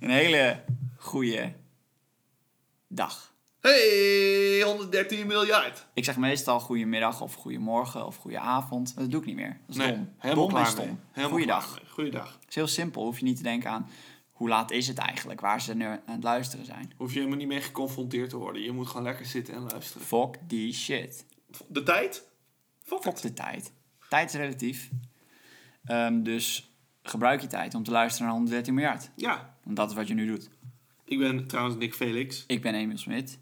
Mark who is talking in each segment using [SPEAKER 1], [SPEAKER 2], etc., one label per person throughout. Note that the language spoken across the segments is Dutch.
[SPEAKER 1] Een hele goede dag.
[SPEAKER 2] Hey, 113 miljard.
[SPEAKER 1] Ik zeg meestal goedemiddag of goedemorgen of goedenavond. Dat doe ik niet meer. Dat is dom.
[SPEAKER 2] helemaal
[SPEAKER 1] dom
[SPEAKER 2] klaar
[SPEAKER 1] is
[SPEAKER 2] mee.
[SPEAKER 1] dom.
[SPEAKER 2] Helemaal
[SPEAKER 1] Goeiedag.
[SPEAKER 2] klaar mee. Goeiedag.
[SPEAKER 1] Het is heel simpel. Hoef je niet te denken aan hoe laat is het eigenlijk, waar ze nu aan het luisteren zijn.
[SPEAKER 2] Hoef je helemaal niet mee geconfronteerd te worden. Je moet gewoon lekker zitten en luisteren.
[SPEAKER 1] Fuck die shit.
[SPEAKER 2] De tijd? Fuck
[SPEAKER 1] Fuck
[SPEAKER 2] het.
[SPEAKER 1] de tijd. Tijd is relatief. Ehm, dus gebruik je tijd om te luisteren naar 113 miljard.
[SPEAKER 2] Ja.
[SPEAKER 1] Want dat is wat je nu doet.
[SPEAKER 2] Ik ben trouwens Nick Felix.
[SPEAKER 1] Ik ben Emiel Smit.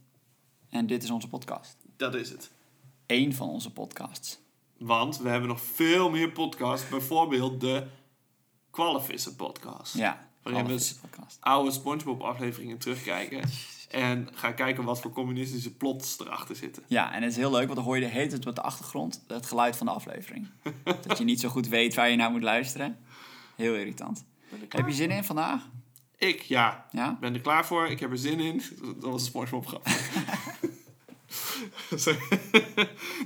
[SPEAKER 1] En dit is onze podcast.
[SPEAKER 2] Dat is het.
[SPEAKER 1] Eén van onze podcasts.
[SPEAKER 2] Want we hebben nog veel meer podcasts. Bijvoorbeeld de Qualifissen podcast.
[SPEAKER 1] Ja.
[SPEAKER 2] Waarin we
[SPEAKER 1] alle
[SPEAKER 2] s-
[SPEAKER 1] vier podcast.
[SPEAKER 2] oude Spongebob afleveringen terugkijken. En gaan kijken wat voor communistische plots erachter zitten.
[SPEAKER 1] Ja, en het is heel leuk, want dan hoor je de hele tijd op de achtergrond het geluid van de aflevering. dat je niet zo goed weet waar je naar moet luisteren. Heel irritant. Heb je zin in vandaag?
[SPEAKER 2] Ik, ja.
[SPEAKER 1] Ja?
[SPEAKER 2] Ik ben er klaar voor. Ik heb er zin in. Dat was een Spongebob grap. Sorry.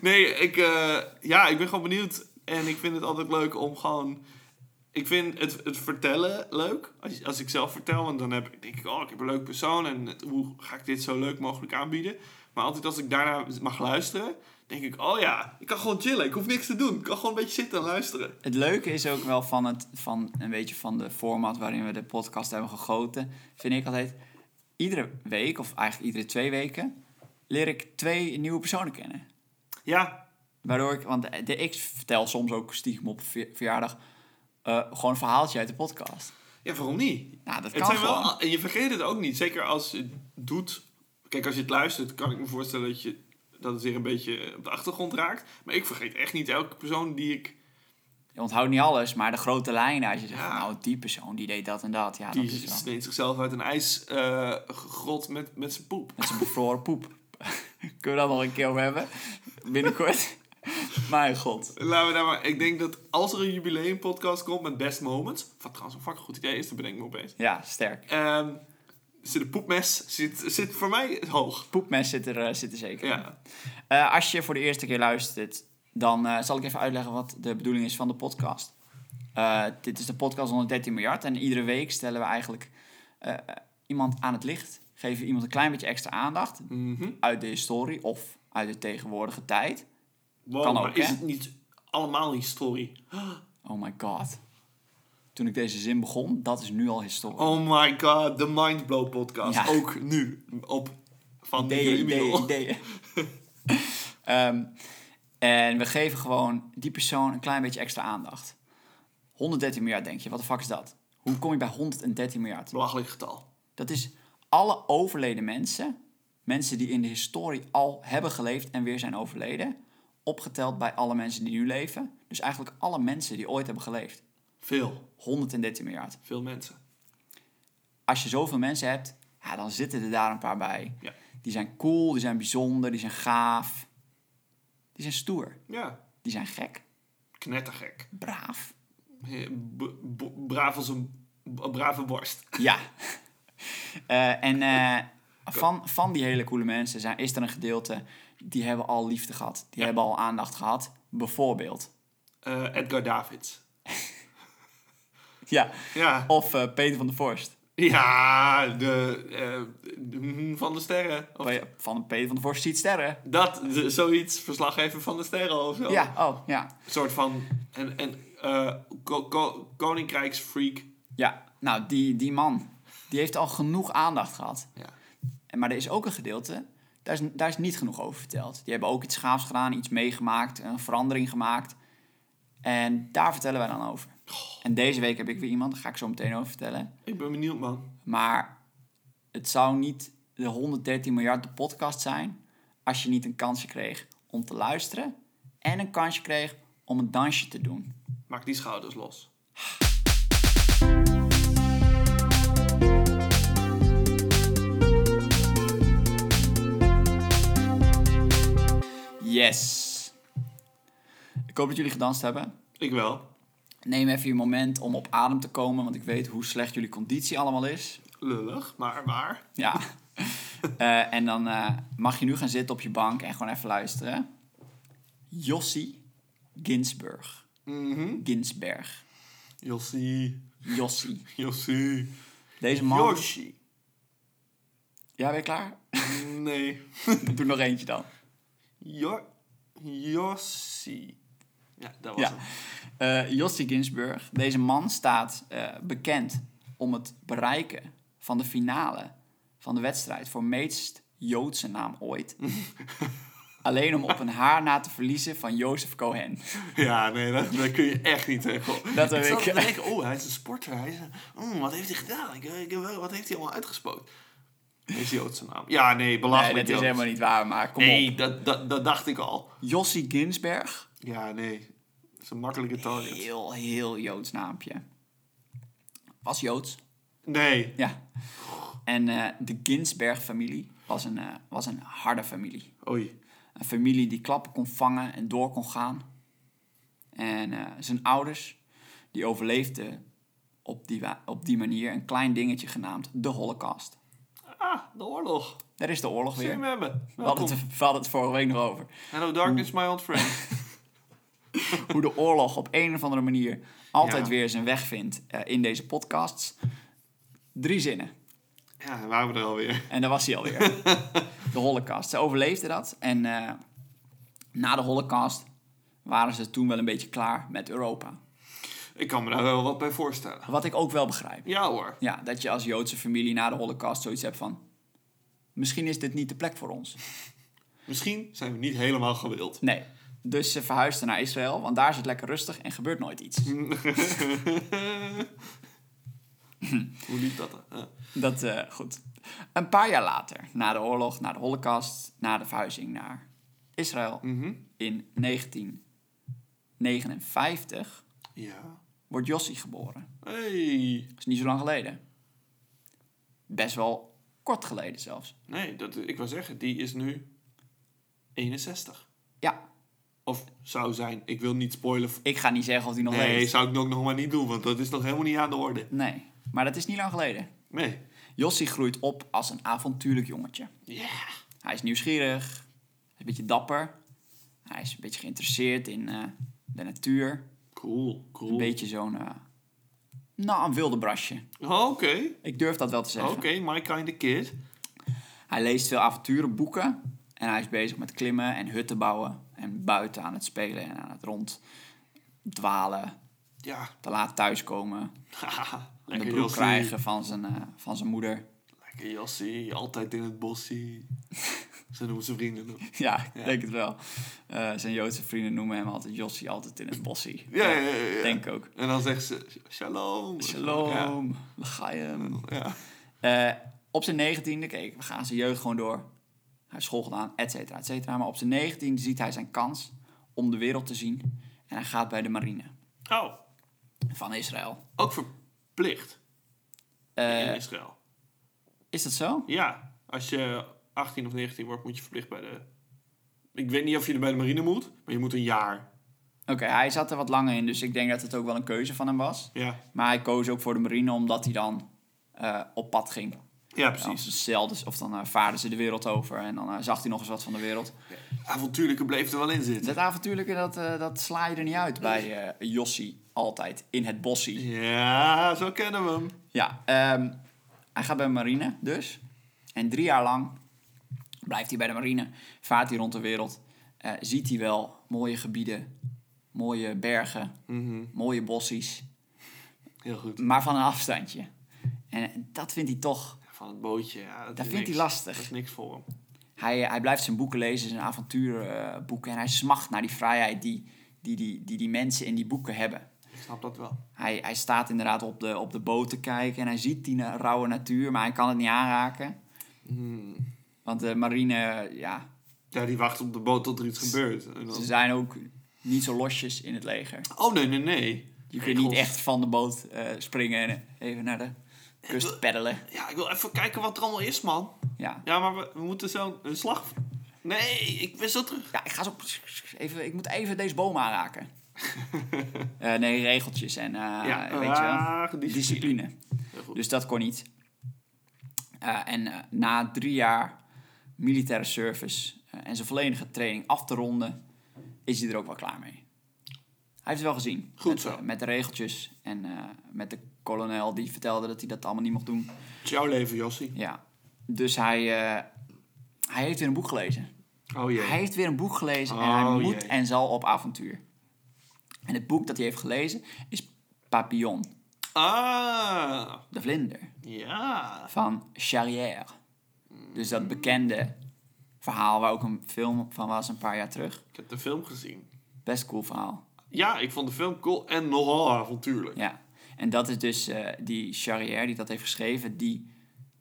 [SPEAKER 2] nee, ik, eh, ja, ik ben gewoon benieuwd. En ik vind het altijd leuk om gewoon... Ik vind het, het vertellen leuk. Als, als ik zelf vertel, want dan heb, ik- denk ik... Oh, ik heb een leuk persoon. En hoe ga ik dit zo leuk mogelijk aanbieden? Maar altijd als ik daarna mag luisteren... Denk ik, oh ja, ik kan gewoon chillen. Ik hoef niks te doen. Ik kan gewoon een beetje zitten en luisteren.
[SPEAKER 1] Het leuke is ook wel van, het, van een beetje van de format waarin we de podcast hebben gegoten. Vind ik altijd, iedere week, of eigenlijk iedere twee weken, leer ik twee nieuwe personen kennen.
[SPEAKER 2] Ja,
[SPEAKER 1] Waardoor ik, want de, ik vertel soms ook stiekem op ver- verjaardag eh, gewoon een verhaaltje uit de podcast.
[SPEAKER 2] ja waarom niet?
[SPEAKER 1] Nou, dat
[SPEAKER 2] Het
[SPEAKER 1] kan
[SPEAKER 2] zijn
[SPEAKER 1] gewoon.
[SPEAKER 2] wel, en je vergeet het ook niet. Zeker als je het doet. Kijk, als je het luistert, kan ik me voorstellen dat, je, dat het weer een beetje eh, op de achtergrond raakt. Maar ik vergeet echt niet elke persoon die ik.
[SPEAKER 1] Je onthoudt niet alles, maar de grote lijnen. Als je zegt,
[SPEAKER 2] Ja.
[SPEAKER 1] van, nou, die persoon die deed dat en dat. Ja, dat
[SPEAKER 2] Die
[SPEAKER 1] is wel.
[SPEAKER 2] sneed zichzelf uit een ijsgrot met, met zijn poep.
[SPEAKER 1] Met zijn bevroren poep. Kunnen we dat nog een keer over hebben? Binnenkort. Mijn god.
[SPEAKER 2] Laten we daar maar. Ik denk dat als er een jubileumpodcast komt met Best Moments. Wat trouwens een fucking goed idee is, dat bedenk ik me opeens.
[SPEAKER 1] Ja, sterk.
[SPEAKER 2] Ehm zit een poepmes zit, zit voor mij hoog.
[SPEAKER 1] Poepmes zit er, eh, zit er zeker. in.
[SPEAKER 2] Ja.
[SPEAKER 1] Eh, als je voor de eerste keer luistert, dan eh, zal ik even uitleggen wat de bedoeling is van de podcast. Eh, dit is de podcast 113 miljard en iedere week stellen we eigenlijk eh, iemand aan het licht. Geven iemand een klein beetje extra aandacht
[SPEAKER 2] Mhm.
[SPEAKER 1] uit de historie of uit de tegenwoordige tijd.
[SPEAKER 2] Wow,
[SPEAKER 1] Kan
[SPEAKER 2] maar
[SPEAKER 1] ook,
[SPEAKER 2] is
[SPEAKER 1] hè?
[SPEAKER 2] het niet allemaal historie?
[SPEAKER 1] Oh my god. Toen ik deze zin begon, dat is nu al historisch.
[SPEAKER 2] Oh my god, de Mindblow podcast.
[SPEAKER 1] Ja.
[SPEAKER 2] Ook nu op van
[SPEAKER 1] ideeën,
[SPEAKER 2] Nicky Emiel.
[SPEAKER 1] ideeën, ideeën. Ehm, en we geven gewoon die persoon een klein beetje extra aandacht. 113 miljard denk je, wat de fuck is dat? Hoe kom je bij 113 miljard?
[SPEAKER 2] Belachelijk getal.
[SPEAKER 1] Dat is alle overleden mensen, mensen die in de historie al hebben geleefd en weer zijn overleden, opgeteld bij alle mensen die nu leven. Dus eigenlijk alle mensen die ooit hebben geleefd.
[SPEAKER 2] Veel,
[SPEAKER 1] 113 miljard.
[SPEAKER 2] veel mensen.
[SPEAKER 1] als je zoveel mensen hebt, ja, dan zitten er daar een paar bij.
[SPEAKER 2] Ja.
[SPEAKER 1] Die zijn cool, die zijn bijzonder, die zijn gaaf. Die zijn stoer,
[SPEAKER 2] Ja,
[SPEAKER 1] die zijn gek,
[SPEAKER 2] knettergek.
[SPEAKER 1] braaf.
[SPEAKER 2] He- b- b- Braaf als een b- brave borst.
[SPEAKER 1] Ja. Eh, en eh, van, van die hele coole mensen zijn, is er een gedeelte die hebben al liefde gehad. Die hebben al aandacht gehad. Bijvoorbeeld.
[SPEAKER 2] Eh, Edgar Davids.
[SPEAKER 1] Ja.
[SPEAKER 2] Ja,
[SPEAKER 1] Of eh, Peter van der Vorst.
[SPEAKER 2] ja de, eh, de- mm, van de sterren. Of
[SPEAKER 1] Pe- Van Peter van der Vorst ziet sterren.
[SPEAKER 2] dat, de- zoiets, verslaggever van de sterren of zo.
[SPEAKER 1] Ja, oh, ja.
[SPEAKER 2] Een soort van en, en, eh, ko- ko- koninkrijksfreak.
[SPEAKER 1] Ja, nou, die, die man. Die heeft al genoeg aandacht gehad.
[SPEAKER 2] Ja.
[SPEAKER 1] En- Maar er is ook een gedeelte, daar is, daar is niet genoeg over verteld. Die hebben ook iets gaafs gedaan, iets meegemaakt, een verandering gemaakt. En daar vertellen wij dan over. En deze week heb ik weer iemand, daar ga ik zo meteen over vertellen.
[SPEAKER 2] Ik ben benieuwd, man.
[SPEAKER 1] Maar het zou niet de 113 miljard de podcast zijn... als je niet een kansje kreeg om te luisteren... en een kansje kreeg om een dansje te doen.
[SPEAKER 2] Maak die schouders los.
[SPEAKER 1] Yes! Ik hoop dat jullie gedanst hebben.
[SPEAKER 2] Ik wel.
[SPEAKER 1] Neem even je moment om op adem te komen, want ik weet hoe slecht jullie conditie allemaal is.
[SPEAKER 2] Lullig, maar waar.
[SPEAKER 1] Ja. Eh, en dan eh, mag je nu gaan zitten op je bank en gewoon even luisteren. Jossie Ginsburg. Ginsberg.
[SPEAKER 2] Jossie
[SPEAKER 1] Jossi.
[SPEAKER 2] Yoshi.
[SPEAKER 1] Deze man...
[SPEAKER 2] Yoshi.
[SPEAKER 1] Ja, ben je klaar?
[SPEAKER 2] Nee.
[SPEAKER 1] Doe nog eentje dan.
[SPEAKER 2] Jo Yoshi. Ja, dat was
[SPEAKER 1] Ja.
[SPEAKER 2] hem.
[SPEAKER 1] Eh Jossi Ginsburg. Deze man staat eh, bekend om het bereiken van de finale van de wedstrijd voor meest Joodse naam ooit. Alleen om op een haar na te verliezen van Jozef Cohen.
[SPEAKER 2] Ja, nee, dat, daar kun je echt niet tegen. op.
[SPEAKER 1] Dat heb
[SPEAKER 2] ik. zat
[SPEAKER 1] ik.
[SPEAKER 2] te denken, oh, hij is een sporter. Hij is een- mm, wat heeft hij gedaan? Ik, ik, wat heeft hij allemaal uitgespookt? Is Joodse naam. Ja, nee,
[SPEAKER 1] Nee,
[SPEAKER 2] belachelijk
[SPEAKER 1] dat is
[SPEAKER 2] Joods.
[SPEAKER 1] helemaal niet waar, maar kom op.
[SPEAKER 2] Nee, dat, dat, dat dacht ik al.
[SPEAKER 1] Jossi Ginsberg.
[SPEAKER 2] Ja, nee. Dat is een makkelijke target.
[SPEAKER 1] Heel, heel Joods naampje. Was Joods,
[SPEAKER 2] Nee.
[SPEAKER 1] ja. En eh, de Ginsberg-familie was, een, eh, was een harde familie.
[SPEAKER 2] Oei.
[SPEAKER 1] Een familie die klappen kon vangen en door kon gaan. En eh, zijn ouders, die overleefden op die, wa- op die manier een klein dingetje genaamd de Holocaust.
[SPEAKER 2] Ah, de oorlog.
[SPEAKER 1] Daar is de oorlog
[SPEAKER 2] Zul je
[SPEAKER 1] weer.
[SPEAKER 2] hem
[SPEAKER 1] We
[SPEAKER 2] hebben?
[SPEAKER 1] hadden
[SPEAKER 2] Welkom.
[SPEAKER 1] het, we hadden het vorige week nog over.
[SPEAKER 2] Hello darkness, my old friend.
[SPEAKER 1] hoe de oorlog op een of andere manier altijd
[SPEAKER 2] Ja.
[SPEAKER 1] weer zijn weg vindt eh, in deze podcasts. Drie zinnen.
[SPEAKER 2] Ja, dan waren we er alweer.
[SPEAKER 1] En daar was hij alweer. de Holocaust. Ze overleefden dat. En eh, na de Holocaust waren ze toen wel een beetje klaar met Europa.
[SPEAKER 2] Ik kan me daar wel wat bij voorstellen.
[SPEAKER 1] Wat ik ook wel begrijp.
[SPEAKER 2] Ja hoor.
[SPEAKER 1] Ja, dat je als Joodse familie na de Holocaust zoiets hebt van. Misschien is dit niet de plek voor ons.
[SPEAKER 2] Misschien zijn we niet helemaal gewild.
[SPEAKER 1] Nee. Dus ze verhuisden naar Israël, want daar is het lekker rustig en gebeurt nooit iets.
[SPEAKER 2] Hoe liep dat? dan? Ja.
[SPEAKER 1] Dat, eh, goed. Een paar jaar later, na de oorlog, na de holocaust, na de verhuizing naar Israël, in 1959,
[SPEAKER 2] ja.
[SPEAKER 1] wordt Jossi geboren.
[SPEAKER 2] Hey.
[SPEAKER 1] Dat is niet zo lang geleden. Best wel kort geleden zelfs.
[SPEAKER 2] Nee, dat, ik wil zeggen, die is nu 61.
[SPEAKER 1] Ja,
[SPEAKER 2] Of zou zijn. Ik wil niet spoilen.
[SPEAKER 1] ik ga niet zeggen of hij nog
[SPEAKER 2] Nee,
[SPEAKER 1] leeft.
[SPEAKER 2] zou ik ook nog maar niet doen, want dat is nog helemaal niet aan de orde.
[SPEAKER 1] Nee, maar dat is niet lang geleden.
[SPEAKER 2] Nee.
[SPEAKER 1] Jossi groeit op als een avontuurlijk jongetje.
[SPEAKER 2] Ja.
[SPEAKER 1] Hij is nieuwsgierig, een beetje dapper. Hij is een beetje geïnteresseerd in eh, de natuur.
[SPEAKER 2] Cool, cool.
[SPEAKER 1] Een beetje zo'n. eh, nou, een wilde brasje.
[SPEAKER 2] Oké, oké,
[SPEAKER 1] Ik durf dat wel te zeggen.
[SPEAKER 2] my kind of kid.
[SPEAKER 1] Hij leest veel avonturenboeken. En hij is bezig met klimmen en hutten bouwen. En buiten aan het spelen en aan het rond dwalen.
[SPEAKER 2] Ja.
[SPEAKER 1] Te laat thuiskomen.
[SPEAKER 2] Haha,
[SPEAKER 1] De
[SPEAKER 2] Lekker
[SPEAKER 1] broek
[SPEAKER 2] Jossie.
[SPEAKER 1] krijgen van zijn, eh, van zijn moeder.
[SPEAKER 2] Lekker Jossie, altijd in het bossie. Ze noemen ze vrienden. nog.
[SPEAKER 1] ja, ik denk het wel. Eh, zijn Joodse vrienden noemen hem altijd Jossie, altijd in het bossie.
[SPEAKER 2] Ja, ja, ja. ja.
[SPEAKER 1] Denk ook.
[SPEAKER 2] En dan zegt ze, shalom. Ja.
[SPEAKER 1] Shalom, L'chaim.
[SPEAKER 2] ja.
[SPEAKER 1] Eh, op zijn negentiende, kijk, we gaan zijn jeugd gewoon door. Hij heeft school gedaan, et cetera, et cetera. Maar op zijn negentiende ziet hij zijn kans om de wereld te zien. En hij gaat bij de marine
[SPEAKER 2] Oh,
[SPEAKER 1] van Israël.
[SPEAKER 2] ook verplicht
[SPEAKER 1] Eh,
[SPEAKER 2] in Israël.
[SPEAKER 1] Is dat zo?
[SPEAKER 2] Ja, als je 18 of 19 wordt, moet je verplicht bij de... Ik weet niet of je er bij de marine moet, maar je moet een jaar.
[SPEAKER 1] Oké, hij zat er wat langer in, dus ik denk dat het ook wel een keuze van hem was.
[SPEAKER 2] Ja,
[SPEAKER 1] Maar hij koos ook voor de marine omdat hij dan eh, op pad ging.
[SPEAKER 2] ja
[SPEAKER 1] Ja, Of,
[SPEAKER 2] precies.
[SPEAKER 1] ze zeilden- of dan eh, vaarden ze de wereld over en dan eh, zag hij nog eens wat van de wereld.
[SPEAKER 2] Avontuurlijke bleef er wel in zitten.
[SPEAKER 1] Dat avontuurlijke, dat, eh, dat sla je er niet uit bij eh Jossi. Altijd in het bossie.
[SPEAKER 2] Ja, zo kennen we hem.
[SPEAKER 1] Ja, ehm, hij gaat bij de marine dus. En drie jaar lang blijft hij bij de marine. Vaart hij rond de wereld. Eh, ziet hij wel mooie gebieden, mooie bergen, mooie bossies.
[SPEAKER 2] Heel goed.
[SPEAKER 1] Maar van een afstandje. En dat vindt hij toch.
[SPEAKER 2] Van het bootje, ja. Dat,
[SPEAKER 1] Dat
[SPEAKER 2] is
[SPEAKER 1] vindt hij
[SPEAKER 2] niks.
[SPEAKER 1] lastig.
[SPEAKER 2] Dat is niks voor hem.
[SPEAKER 1] Hij, hij blijft zijn boeken lezen, zijn avonturenboeken. En hij smacht naar die vrijheid die die, die, die die mensen in die boeken hebben.
[SPEAKER 2] Ik snap dat wel.
[SPEAKER 1] Hij, hij staat inderdaad op de, op de boot te kijken en hij ziet die na- rauwe natuur, maar hij kan het niet aanraken.
[SPEAKER 2] Hmm.
[SPEAKER 1] Want de marine, ja,
[SPEAKER 2] Ja, die wacht op de boot tot er iets gebeurt. En
[SPEAKER 1] ze
[SPEAKER 2] dan...
[SPEAKER 1] zijn ook niet zo losjes in het leger.
[SPEAKER 2] Oh, nee, nee, nee.
[SPEAKER 1] Je kunt niet echt van de boot eh, springen en even naar de kust peddelen.
[SPEAKER 2] Ja, ik wil even kijken wat er allemaal is, man.
[SPEAKER 1] Ja.
[SPEAKER 2] Ja, maar we, we moeten zo een slag... Nee, ik ben zo terug.
[SPEAKER 1] ja, ik ga zo even, ik moet even deze boom aanraken. Eh, nee, regeltjes en eh,
[SPEAKER 2] Ja,
[SPEAKER 1] weet je wel.
[SPEAKER 2] ah, gedisciplineerd.
[SPEAKER 1] discipline.
[SPEAKER 2] Heel goed.
[SPEAKER 1] Dus dat kon niet. Eh, en eh, na drie jaar militaire service eh, en zijn volledige training af te ronden, is hij er ook wel klaar mee. Hij heeft het wel gezien.
[SPEAKER 2] Goed
[SPEAKER 1] met,
[SPEAKER 2] zo.
[SPEAKER 1] eh, met de regeltjes en eh, met de kolonel, die vertelde dat hij dat allemaal niet mocht doen.
[SPEAKER 2] Het is jouw leven, Jossie.
[SPEAKER 1] Ja. Dus hij, eh, hij heeft weer een boek gelezen.
[SPEAKER 2] Oh jee.
[SPEAKER 1] Hij heeft weer een boek gelezen en
[SPEAKER 2] Oh,
[SPEAKER 1] hij moet
[SPEAKER 2] jee.
[SPEAKER 1] en zal op avontuur. En het boek dat hij heeft gelezen is Papillon,
[SPEAKER 2] Ah,
[SPEAKER 1] de vlinder,
[SPEAKER 2] ja.
[SPEAKER 1] van Charrière. Dus dat bekende verhaal waar ook een film van was een paar jaar terug.
[SPEAKER 2] Ik heb de film gezien.
[SPEAKER 1] Best cool verhaal.
[SPEAKER 2] Ja, ik vond de film cool en nogal avontuurlijk.
[SPEAKER 1] Ja. En dat is dus eh, die Charrière die dat heeft geschreven, die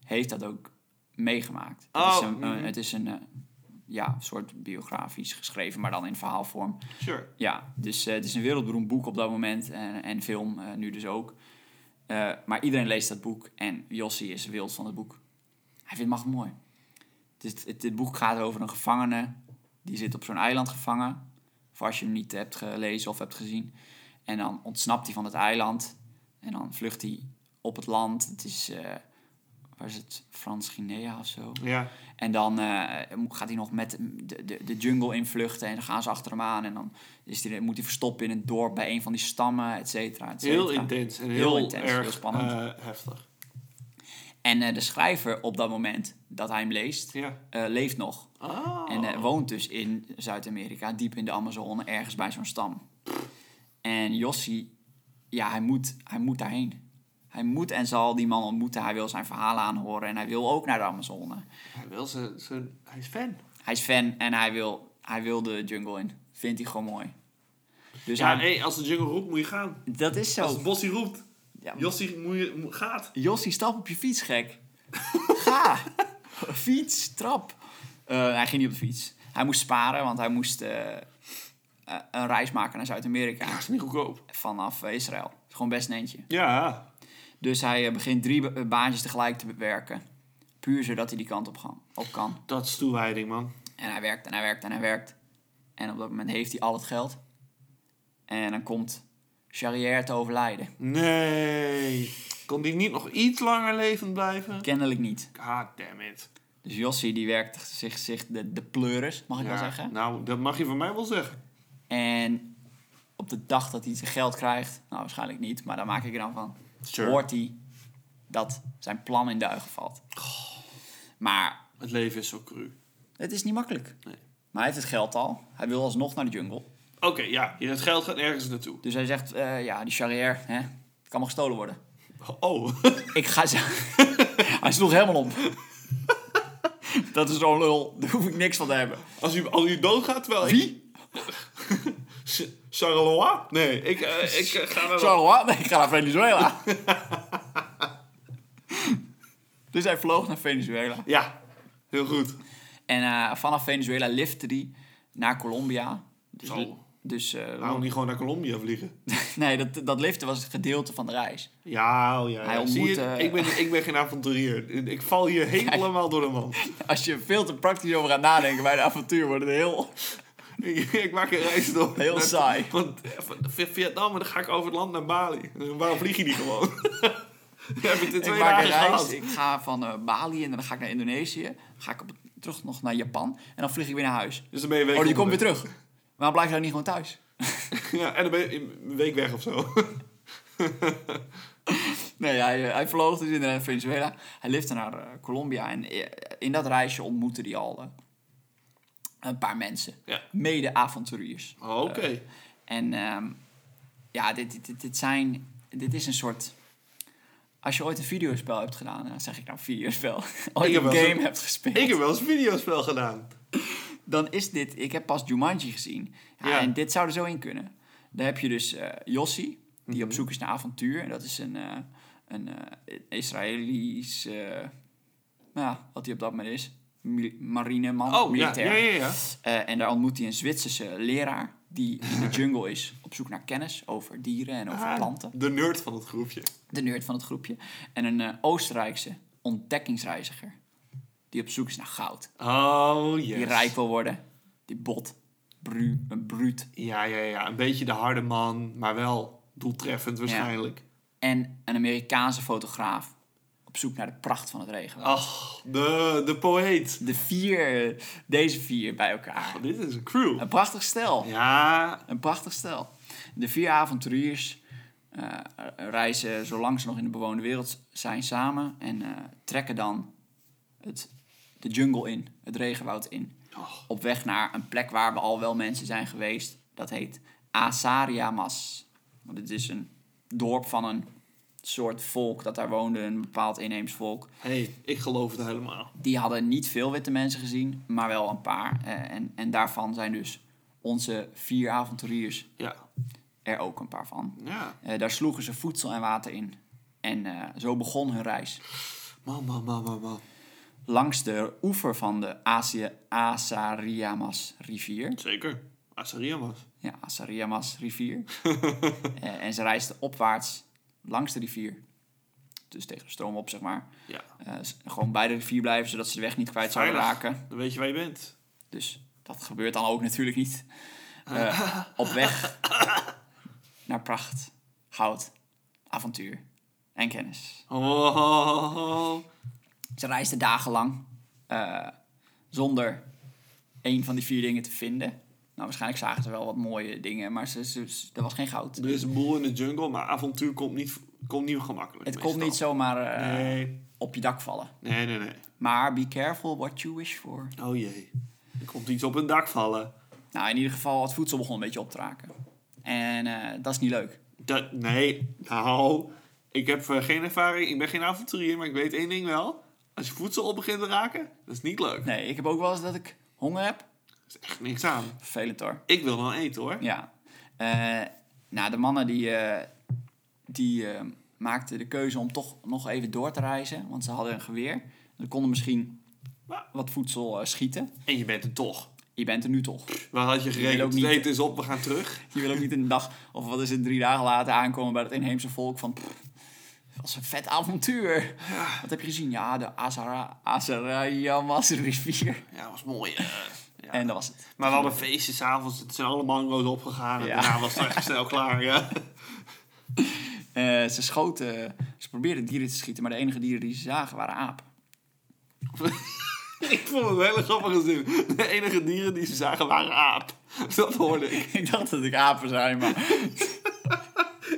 [SPEAKER 1] heeft dat ook meegemaakt.
[SPEAKER 2] Oh,
[SPEAKER 1] het is een,
[SPEAKER 2] mhm.
[SPEAKER 1] een- het is een eh, ja, soort biografisch geschreven, maar dan in verhaalvorm.
[SPEAKER 2] Sure.
[SPEAKER 1] Ja, dus eh, het is een wereldberoemd boek op dat moment en, en film eh, nu dus ook. Eh, maar iedereen leest dat boek en Jossi is wild van het boek. Hij vindt het mooi. Dus het, het, dit boek gaat over een gevangene die zit op zo'n eiland gevangen. Voor als je hem niet hebt gelezen of hebt gezien. En dan ontsnapt hij van het eiland en dan vlucht hij op het land. Het is, eh waar is het, Frans-Guinea of zo?
[SPEAKER 2] Ja.
[SPEAKER 1] En dan eh, mo- gaat hij nog met de, de, de jungle in vluchten en dan gaan ze achter hem aan. En dan is die, moet hij verstoppen in een dorp bij een van die stammen, et cetera. et
[SPEAKER 2] Heel
[SPEAKER 1] cetera.
[SPEAKER 2] intens en heel,
[SPEAKER 1] Heel intens,
[SPEAKER 2] erg
[SPEAKER 1] heel spannend.
[SPEAKER 2] eh, heftig.
[SPEAKER 1] En eh, de schrijver op dat moment dat hij hem leest,
[SPEAKER 2] Ja.
[SPEAKER 1] eh, leeft nog.
[SPEAKER 2] Ah.
[SPEAKER 1] En eh, woont dus in Zuid-Amerika, diep in de Amazone, ergens bij zo'n stam. En Jossi, ja, hij moet, hij moet daarheen. Hij moet en zal die man ontmoeten. Hij wil zijn verhalen aanhoren en hij wil ook naar de Amazone.
[SPEAKER 2] Hij, wil zijn, zijn, hij is fan.
[SPEAKER 1] Hij is fan en hij wil, hij wil de jungle in. Vindt hij gewoon mooi. Dus
[SPEAKER 2] ja,
[SPEAKER 1] hij,
[SPEAKER 2] hey, als de jungle roept, moet je gaan.
[SPEAKER 1] dat is
[SPEAKER 2] Als
[SPEAKER 1] zo.
[SPEAKER 2] de bossie roept,
[SPEAKER 1] Ja,
[SPEAKER 2] Jossie moet je, moet- gaat.
[SPEAKER 1] Jossie, stap op je fiets, gek. Ga. fiets, trap. Eh, hij ging niet op de fiets. Hij moest sparen, want hij moest eh, eh, een reis maken naar
[SPEAKER 2] Ja,
[SPEAKER 1] Zuid-Amerika.
[SPEAKER 2] is niet goedkoop.
[SPEAKER 1] Vanaf eh, Israël. Gewoon best een eentje.
[SPEAKER 2] Ja.
[SPEAKER 1] Dus hij eh, begint drie ba- eh, baantjes tegelijk te werken. Puur zodat hij die kant op, gaan, op kan.
[SPEAKER 2] Dat is toewijding, man.
[SPEAKER 1] En hij werkt en hij werkt en hij werkt. En op dat moment heeft hij al het geld. En dan komt Charrière te overlijden.
[SPEAKER 2] Nee. Kon die niet nog iets langer levend blijven?
[SPEAKER 1] Kennelijk niet.
[SPEAKER 2] God damn it.
[SPEAKER 1] Dus Jossi die werkt zich, zich de, de pleuris, mag ik wel zeggen.
[SPEAKER 2] Nou, dat mag je van mij wel zeggen.
[SPEAKER 1] En op de dag dat hij zijn geld krijgt, nou waarschijnlijk niet, maar daar maak ik er dan van.
[SPEAKER 2] Sure.
[SPEAKER 1] Hoort hij dat zijn plan in duigen valt. Maar
[SPEAKER 2] Het leven is zo cru.
[SPEAKER 1] het is niet makkelijk.
[SPEAKER 2] Nee.
[SPEAKER 1] Maar hij heeft het geld al. Hij wil alsnog naar de jungle.
[SPEAKER 2] Oké, ja. Het geld gaat ergens naartoe.
[SPEAKER 1] Dus hij zegt, eh, ja, die Charrière, hè, het kan maar gestolen worden.
[SPEAKER 2] Oh.
[SPEAKER 1] Ik ga ze. Hij sloeg helemaal om. Dat is zo'n lul. Daar hoef ik niks van te hebben.
[SPEAKER 2] Als u, als u doodgaat, wel...
[SPEAKER 1] Wie?
[SPEAKER 2] S- Charleroi? Nee, ik, eh, ik eh, ga wel...
[SPEAKER 1] Zo, wat? Nee, ik ga naar Venezuela. dus hij vloog naar Venezuela.
[SPEAKER 2] Ja, heel goed.
[SPEAKER 1] En eh, vanaf Venezuela liftte hij naar Colombia. Dus,
[SPEAKER 2] Zo.
[SPEAKER 1] dus eh,
[SPEAKER 2] Waarom niet gewoon naar Colombia vliegen?
[SPEAKER 1] nee, dat, dat liften was het gedeelte van de reis.
[SPEAKER 2] Ja, oh ja.
[SPEAKER 1] Hij
[SPEAKER 2] ja.
[SPEAKER 1] ontmoet,
[SPEAKER 2] Zie je,
[SPEAKER 1] eh,
[SPEAKER 2] ik, ben, ik ben geen avonturier. Ik val hier helemaal door de man.
[SPEAKER 1] Als je veel te praktisch over gaat nadenken bij de avontuur, wordt het heel...
[SPEAKER 2] ik, ik maak een reis door.
[SPEAKER 1] Heel
[SPEAKER 2] naar-
[SPEAKER 1] saai.
[SPEAKER 2] Want eh, van V- Vietnam, en dan ga ik over het land naar Bali. En Waarom vlieg je niet gewoon? Dan heb je het in
[SPEAKER 1] Ik
[SPEAKER 2] twee
[SPEAKER 1] maak
[SPEAKER 2] dagen
[SPEAKER 1] een reis.
[SPEAKER 2] gehad.
[SPEAKER 1] Ik ga van eh, Bali en dan ga ik naar Indonesië. Dan ga ik op, terug nog naar Japan. En dan vlieg ik weer naar huis.
[SPEAKER 2] Dus dan ben je een week
[SPEAKER 1] Oh, die komt weer
[SPEAKER 2] onderweg.
[SPEAKER 1] terug. Waarom blijf je dan niet gewoon thuis?
[SPEAKER 2] Ja, en dan ben je een week weg of zo.
[SPEAKER 1] Nee, hij, eh, hij vloog dus in eh, Venezuela. Hij lifte naar eh, Colombia. En eh, in dat reisje ontmoette hij al eh, een paar mensen.
[SPEAKER 2] Ja.
[SPEAKER 1] Mede-avonturiers.
[SPEAKER 2] Oh, Oké.
[SPEAKER 1] Eh, En ehm, ja, dit, dit, dit, dit zijn... Dit is een soort... Als je ooit een videospel hebt gedaan... eh, zeg ik nou videospel.
[SPEAKER 2] Ik
[SPEAKER 1] ooit
[SPEAKER 2] heb
[SPEAKER 1] een
[SPEAKER 2] wel
[SPEAKER 1] game
[SPEAKER 2] zo-
[SPEAKER 1] hebt gespeeld.
[SPEAKER 2] Ik heb wel eens een videospel gedaan.
[SPEAKER 1] dan is dit... Ik heb pas Jumanji gezien. Ja,
[SPEAKER 2] Ja.
[SPEAKER 1] En dit zou er zo in kunnen. Daar heb je dus eh, Jossi, die
[SPEAKER 2] Mhm.
[SPEAKER 1] op zoek is naar avontuur. En dat is een, eh een eh, Israëlisch... eh, nou ja, wat hij op dat moment is. Mil- marineman,
[SPEAKER 2] Oh, ja,
[SPEAKER 1] militair.
[SPEAKER 2] ja, ja, ja.
[SPEAKER 1] Eh, en daar ontmoet hij een Zwitserse leraar... die in de jungle is op zoek naar kennis over dieren en over
[SPEAKER 2] Ah,
[SPEAKER 1] planten.
[SPEAKER 2] De nerd van het groepje.
[SPEAKER 1] De nerd van het groepje. En een eh, Oostenrijkse ontdekkingsreiziger... die op zoek is naar goud.
[SPEAKER 2] Oh, yes.
[SPEAKER 1] Die rijk wil worden. Die bot. Bru, een bruut.
[SPEAKER 2] Ja, ja, ja. Een beetje de harde man, maar wel doeltreffend waarschijnlijk.
[SPEAKER 1] En een Amerikaanse fotograaf. Op zoek naar de pracht van het regenwoud.
[SPEAKER 2] Ach, de, de poëet.
[SPEAKER 1] De vier, deze vier bij elkaar.
[SPEAKER 2] Dit is een crew.
[SPEAKER 1] Een prachtig stel.
[SPEAKER 2] Ja,
[SPEAKER 1] Een prachtig stel. De vier avonturiers eh, reizen zolang ze nog in de bewoonde wereld zijn samen. En eh, trekken dan het, de jungle in, het regenwoud in.
[SPEAKER 2] Och.
[SPEAKER 1] Op weg naar een plek waar we al wel mensen zijn geweest. Dat heet Asariamas. Want het is een dorp van een soort volk dat daar woonde, een bepaald inheems volk.
[SPEAKER 2] hey, ik geloof het helemaal.
[SPEAKER 1] Die hadden niet veel witte mensen gezien, maar wel een paar. Eh, en, en daarvan zijn dus onze vier avonturiers
[SPEAKER 2] Ja.
[SPEAKER 1] er ook een paar van.
[SPEAKER 2] Ja.
[SPEAKER 1] Eh, daar sloegen ze voedsel en water in. En eh, zo begon hun reis.
[SPEAKER 2] Man, man, man, man, man.
[SPEAKER 1] Langs de oever van de Azië Asariamas rivier.
[SPEAKER 2] Zeker. Asaria was.
[SPEAKER 1] Ja, Asariamas rivier. Eh, en ze reisden opwaarts langs de rivier. Dus tegen de stroom op, zeg maar.
[SPEAKER 2] Ja.
[SPEAKER 1] Eh, s- gewoon bij de rivier blijven, zodat ze de weg niet kwijt zouden
[SPEAKER 2] Veilig.
[SPEAKER 1] raken.
[SPEAKER 2] Dan weet je waar je bent.
[SPEAKER 1] Dus dat gebeurt dan ook natuurlijk niet. Eh, op weg naar pracht, goud, avontuur en kennis.
[SPEAKER 2] Oh.
[SPEAKER 1] Ze reisden dagenlang eh zonder één van die vier dingen te vinden. Nou, waarschijnlijk zagen ze wel wat mooie dingen, maar ze, ze- ze- er was geen goud.
[SPEAKER 2] Er is een boel in de jungle, maar avontuur komt niet, komt niet gemakkelijk.
[SPEAKER 1] Het kon
[SPEAKER 2] meestal.
[SPEAKER 1] niet zomaar eh,
[SPEAKER 2] Nee.
[SPEAKER 1] op je dak vallen.
[SPEAKER 2] Nee, nee, nee.
[SPEAKER 1] Maar be careful what you wish for.
[SPEAKER 2] Oh jee. Er komt iets op een dak vallen.
[SPEAKER 1] Nou, in ieder geval, het voedsel begon een beetje op te raken. En eh, dat is niet leuk.
[SPEAKER 2] Dat, nee, nou, ik heb eh, geen ervaring, ik ben geen avonturier, maar ik weet één ding wel. Als je voedsel op begint te raken, dat is niet leuk.
[SPEAKER 1] Nee, ik heb ook wel eens dat ik honger heb.
[SPEAKER 2] Dat is echt niks aan.
[SPEAKER 1] Vervelend hoor.
[SPEAKER 2] Ik wil wel eten hoor.
[SPEAKER 1] Ja. Eh, nou, de mannen die, eh, die eh, maakten de keuze om toch nog even door te reizen. Want ze hadden een geweer. Ze konden misschien wat voedsel eh, schieten.
[SPEAKER 2] En je bent er toch.
[SPEAKER 1] Je bent er nu toch.
[SPEAKER 2] Waar had je
[SPEAKER 1] wil
[SPEAKER 2] gerekend?
[SPEAKER 1] ook
[SPEAKER 2] Het
[SPEAKER 1] niet-
[SPEAKER 2] eten is op, we gaan terug.
[SPEAKER 1] Je wil ook niet een dag of wat is het, drie dagen later aankomen bij dat inheemse volk van... pff, dat was een vet avontuur. Wat heb je gezien? Ja, de Azara, Azarayamas rivier.
[SPEAKER 2] Ja, dat was mooi. eh, ja.
[SPEAKER 1] En dat was het.
[SPEAKER 2] Maar we hadden feestjes s'avonds, het zijn alle mango's opgegaan en
[SPEAKER 1] Ja.
[SPEAKER 2] daarna was het echt snel klaar. Ja.
[SPEAKER 1] Eh, ze schoten, ze probeerden dieren te schieten, maar de enige dieren die ze zagen waren apen.
[SPEAKER 2] ik vond het een hele grappige zin. De enige dieren die ze zagen waren aap. Dat hoorde ik.
[SPEAKER 1] ik dacht dat ik apen zei, maar...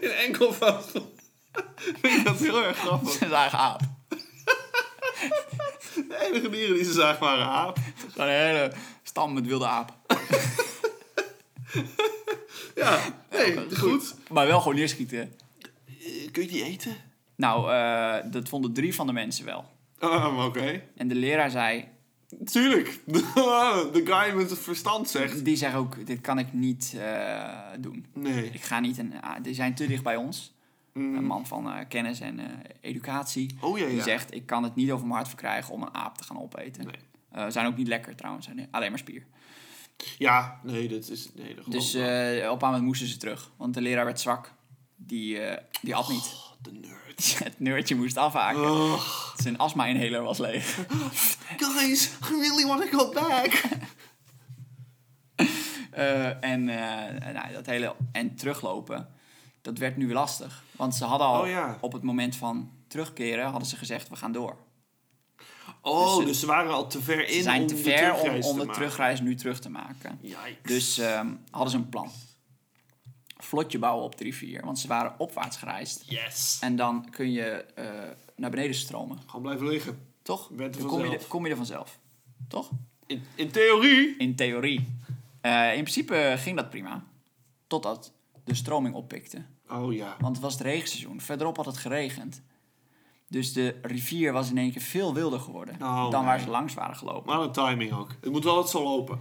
[SPEAKER 2] In enkel vast. Vind ik dat heel erg grappig.
[SPEAKER 1] Ze zagen aap.
[SPEAKER 2] De enige dieren die ze zagen waren aap.
[SPEAKER 1] Gewoon een hele stam met wilde aap.
[SPEAKER 2] Ja, nee, goed.
[SPEAKER 1] Maar wel gewoon neerschieten.
[SPEAKER 2] Eh, Kun je die eten?
[SPEAKER 1] Nou, eh, dat vonden drie van de mensen wel.
[SPEAKER 2] Ehm, Oké.
[SPEAKER 1] En de leraar zei...
[SPEAKER 2] Tuurlijk. De guy met het verstand zegt.
[SPEAKER 1] Die zei ook, dit kan ik niet eh, doen.
[SPEAKER 2] Nee.
[SPEAKER 1] Ik ga niet... Een, ah, die zijn te dicht bij ons. Een man van eh, kennis en eh, educatie.
[SPEAKER 2] Mm. Oh ja,
[SPEAKER 1] Die
[SPEAKER 2] ja.
[SPEAKER 1] zegt, ik kan het niet over mijn hart verkrijgen om een aap te gaan opeten.
[SPEAKER 2] Nee. Oh.
[SPEAKER 1] Eh, zijn ook niet lekker trouwens, zijn alleen maar spier.
[SPEAKER 2] Ja, nee, dat is. Nee, dat
[SPEAKER 1] Dus
[SPEAKER 2] geloof ik
[SPEAKER 1] eh, op een moment moesten ze terug, want de leraar werd zwak. Die, eh, die at niet.
[SPEAKER 2] wel. Oh, de nerd.
[SPEAKER 1] Het neurtje moest afhaken.
[SPEAKER 2] Oh,
[SPEAKER 1] Zijn astma-inhaler was leeg.
[SPEAKER 2] guys, I really want to go back.
[SPEAKER 1] Eh, en, eh, nou, dat hele, en teruglopen, dat werd nu weer lastig. Want ze hadden al
[SPEAKER 2] Oh ja.
[SPEAKER 1] op het moment van terugkeren, hadden ze gezegd, we gaan door.
[SPEAKER 2] Oh,
[SPEAKER 1] Dus,
[SPEAKER 2] dus, ze waren al te ver in.
[SPEAKER 1] Ze zijn
[SPEAKER 2] om
[SPEAKER 1] te
[SPEAKER 2] de
[SPEAKER 1] ver om,
[SPEAKER 2] terugreis
[SPEAKER 1] om
[SPEAKER 2] te
[SPEAKER 1] de
[SPEAKER 2] maken.
[SPEAKER 1] terugreis nu terug te maken.
[SPEAKER 2] Yikes.
[SPEAKER 1] Dus ehm, hadden ze een plan. Vlotje bouwen op de rivier, want ze waren opwaarts gereisd.
[SPEAKER 2] Yes.
[SPEAKER 1] En dan kun je eh, naar beneden stromen,
[SPEAKER 2] Gewoon blijven liggen.
[SPEAKER 1] toch?
[SPEAKER 2] Werd er
[SPEAKER 1] Dan kom je,
[SPEAKER 2] vanzelf.
[SPEAKER 1] er- kom je er vanzelf, toch?
[SPEAKER 2] In, in theorie.
[SPEAKER 1] In theorie. Eh, in principe ging dat prima. Totdat de stroming oppikte.
[SPEAKER 2] Oh ja.
[SPEAKER 1] Want het was het regenseizoen. Verderop had het geregend. Dus de rivier was in één keer veel wilder geworden
[SPEAKER 2] Oh,
[SPEAKER 1] dan waar
[SPEAKER 2] nee.
[SPEAKER 1] ze langs waren gelopen.
[SPEAKER 2] Maar de timing ook. Het moet wel het zo lopen.